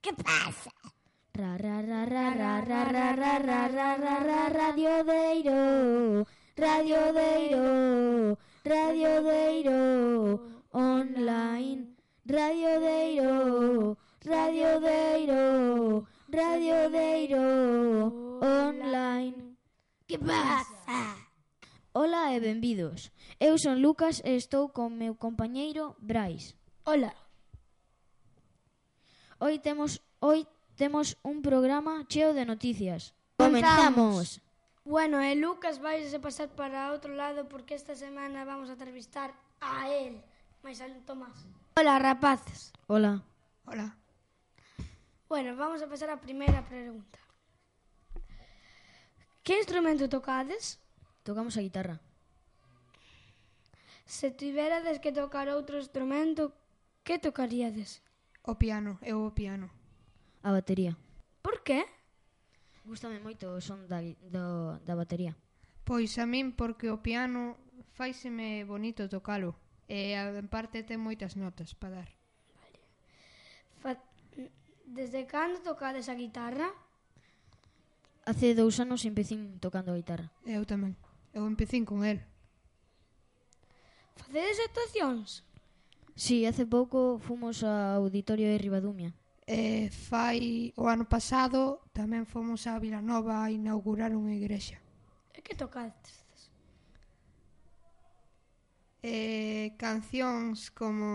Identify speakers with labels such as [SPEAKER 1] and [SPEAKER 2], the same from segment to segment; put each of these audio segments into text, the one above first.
[SPEAKER 1] ¿Qué pasa?
[SPEAKER 2] Ra ra ra ra ra ra ra ra ra ra ra ra Radio Deiro Radio Deiro Radio Deiro Online Radio Deiro Radio Deiro Radio Deiro Online
[SPEAKER 1] ¿Qué pasa?
[SPEAKER 2] Ola e benvidos Eu son Lucas e estou con meu compañeiro Brais
[SPEAKER 3] Ola,
[SPEAKER 2] Hoy temos hoy temos un programa cheo de noticias.
[SPEAKER 3] Comezamos. bueno, e Lucas vais a pasar para outro lado porque esta semana vamos a entrevistar a él, máis a Tomás. Ola, rapaces.
[SPEAKER 2] Hola.
[SPEAKER 1] Hola.
[SPEAKER 3] Bueno, vamos a pasar a primeira pregunta. Que instrumento tocades?
[SPEAKER 2] Tocamos a guitarra.
[SPEAKER 3] Se tiverades que tocar outro instrumento, que tocaríades?
[SPEAKER 1] O piano, eu o piano.
[SPEAKER 2] A batería.
[SPEAKER 3] Por que?
[SPEAKER 2] Gústame moito o son da, gui- do, da batería.
[SPEAKER 1] Pois a min porque o piano faiseme bonito tocalo e a- en parte ten moitas notas para dar.
[SPEAKER 3] Fa... Desde cando tocades a guitarra?
[SPEAKER 2] Hace dous anos empecín tocando a guitarra.
[SPEAKER 1] Eu tamén. Eu empecín con el.
[SPEAKER 3] Facedes actuacións?
[SPEAKER 2] Si, sí, hace pouco fomos ao auditorio de Ribadumia.
[SPEAKER 1] E fai o ano pasado tamén fomos a Vilanova a inaugurar unha igrexa.
[SPEAKER 3] E que tocades?
[SPEAKER 1] E cancións como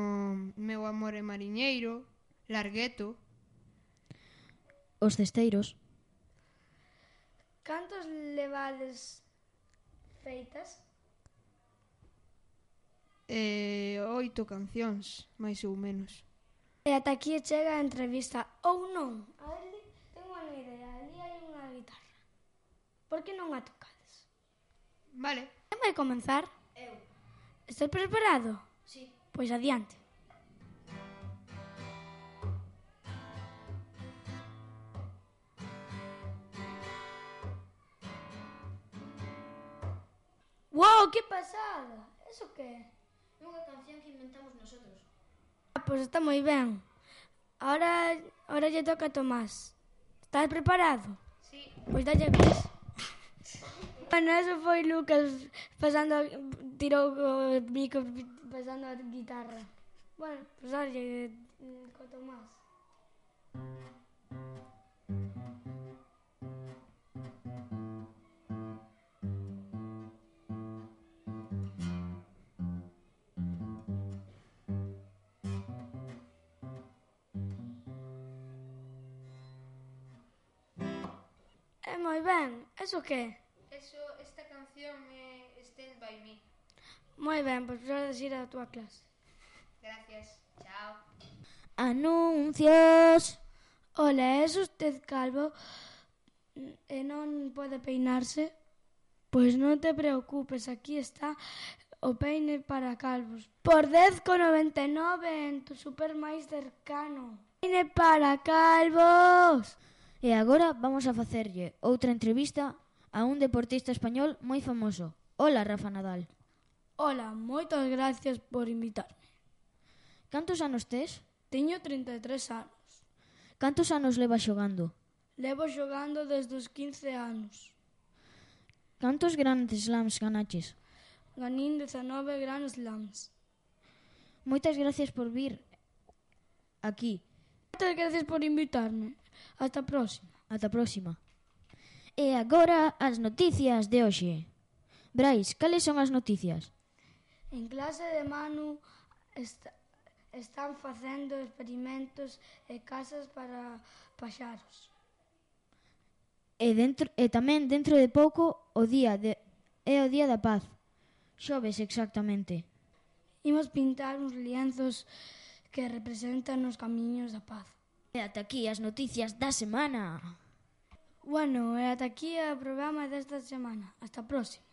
[SPEAKER 1] Meu amor é mariñeiro, Largueto,
[SPEAKER 2] Os cesteiros,
[SPEAKER 3] Cantos levades feitas?
[SPEAKER 1] e oito cancións, máis ou menos.
[SPEAKER 3] E ata aquí chega a entrevista, ou non? Ali, tengo unha idea, ali hai unha guitarra. Por que non a tocades?
[SPEAKER 1] Vale.
[SPEAKER 3] Quen vai comenzar? Eu. Estás preparado? Sí. Pois adiante. Wow, que pasada! Eso que é?
[SPEAKER 2] Unha canción que inventamos nosotros.
[SPEAKER 3] Ah, pois está moi ben. Ahora, ahora lle toca a Tomás. Estás preparado?
[SPEAKER 1] Sí.
[SPEAKER 3] Pois dalle ves. Bueno, eso foi Lucas pasando a, tirou o bico pasando a guitarra. Bueno, pois dalle eh, co Tomás. É moi ben, Eh, eso que? é?
[SPEAKER 1] Eso, esta canción eh, é Stand By Me.
[SPEAKER 3] Moi ben, pois podes ir á túa clase.
[SPEAKER 1] Gracias. Chao.
[SPEAKER 2] Anuncios.
[SPEAKER 3] Ola, é usted calvo e non pode peinarse? Pois non te preocupes, aquí está o peine para calvos. Por 10,99 en tu super máis cercano. Peine para calvos!
[SPEAKER 2] E agora vamos a facerlle outra entrevista a un deportista español moi famoso. Hola, Rafa Nadal.
[SPEAKER 3] Ola, moitas gracias por invitarme.
[SPEAKER 2] Cantos anos tes?
[SPEAKER 3] Teño 33 anos.
[SPEAKER 2] Cantos anos leva xogando?
[SPEAKER 3] Levo xogando desde os 15 anos.
[SPEAKER 2] Cantos grandes slams ganaches?
[SPEAKER 3] Ganín 19 Grand Slams.
[SPEAKER 2] Moitas gracias por vir aquí.
[SPEAKER 3] Moitas gracias por invitarme. Hasta a próxima.
[SPEAKER 2] Ata a próxima. E agora as noticias de hoxe. Brais, cales son as noticias?
[SPEAKER 3] En clase de Manu est están facendo experimentos e casas para paxaros.
[SPEAKER 2] E, dentro, e tamén dentro de pouco o día de, é o día da paz. Xoves exactamente.
[SPEAKER 3] Imos pintar uns lienzos que representan os camiños da paz.
[SPEAKER 2] E ata aquí as noticias da semana.
[SPEAKER 3] Bueno, e ata aquí é o programa desta semana. Hasta a próxima.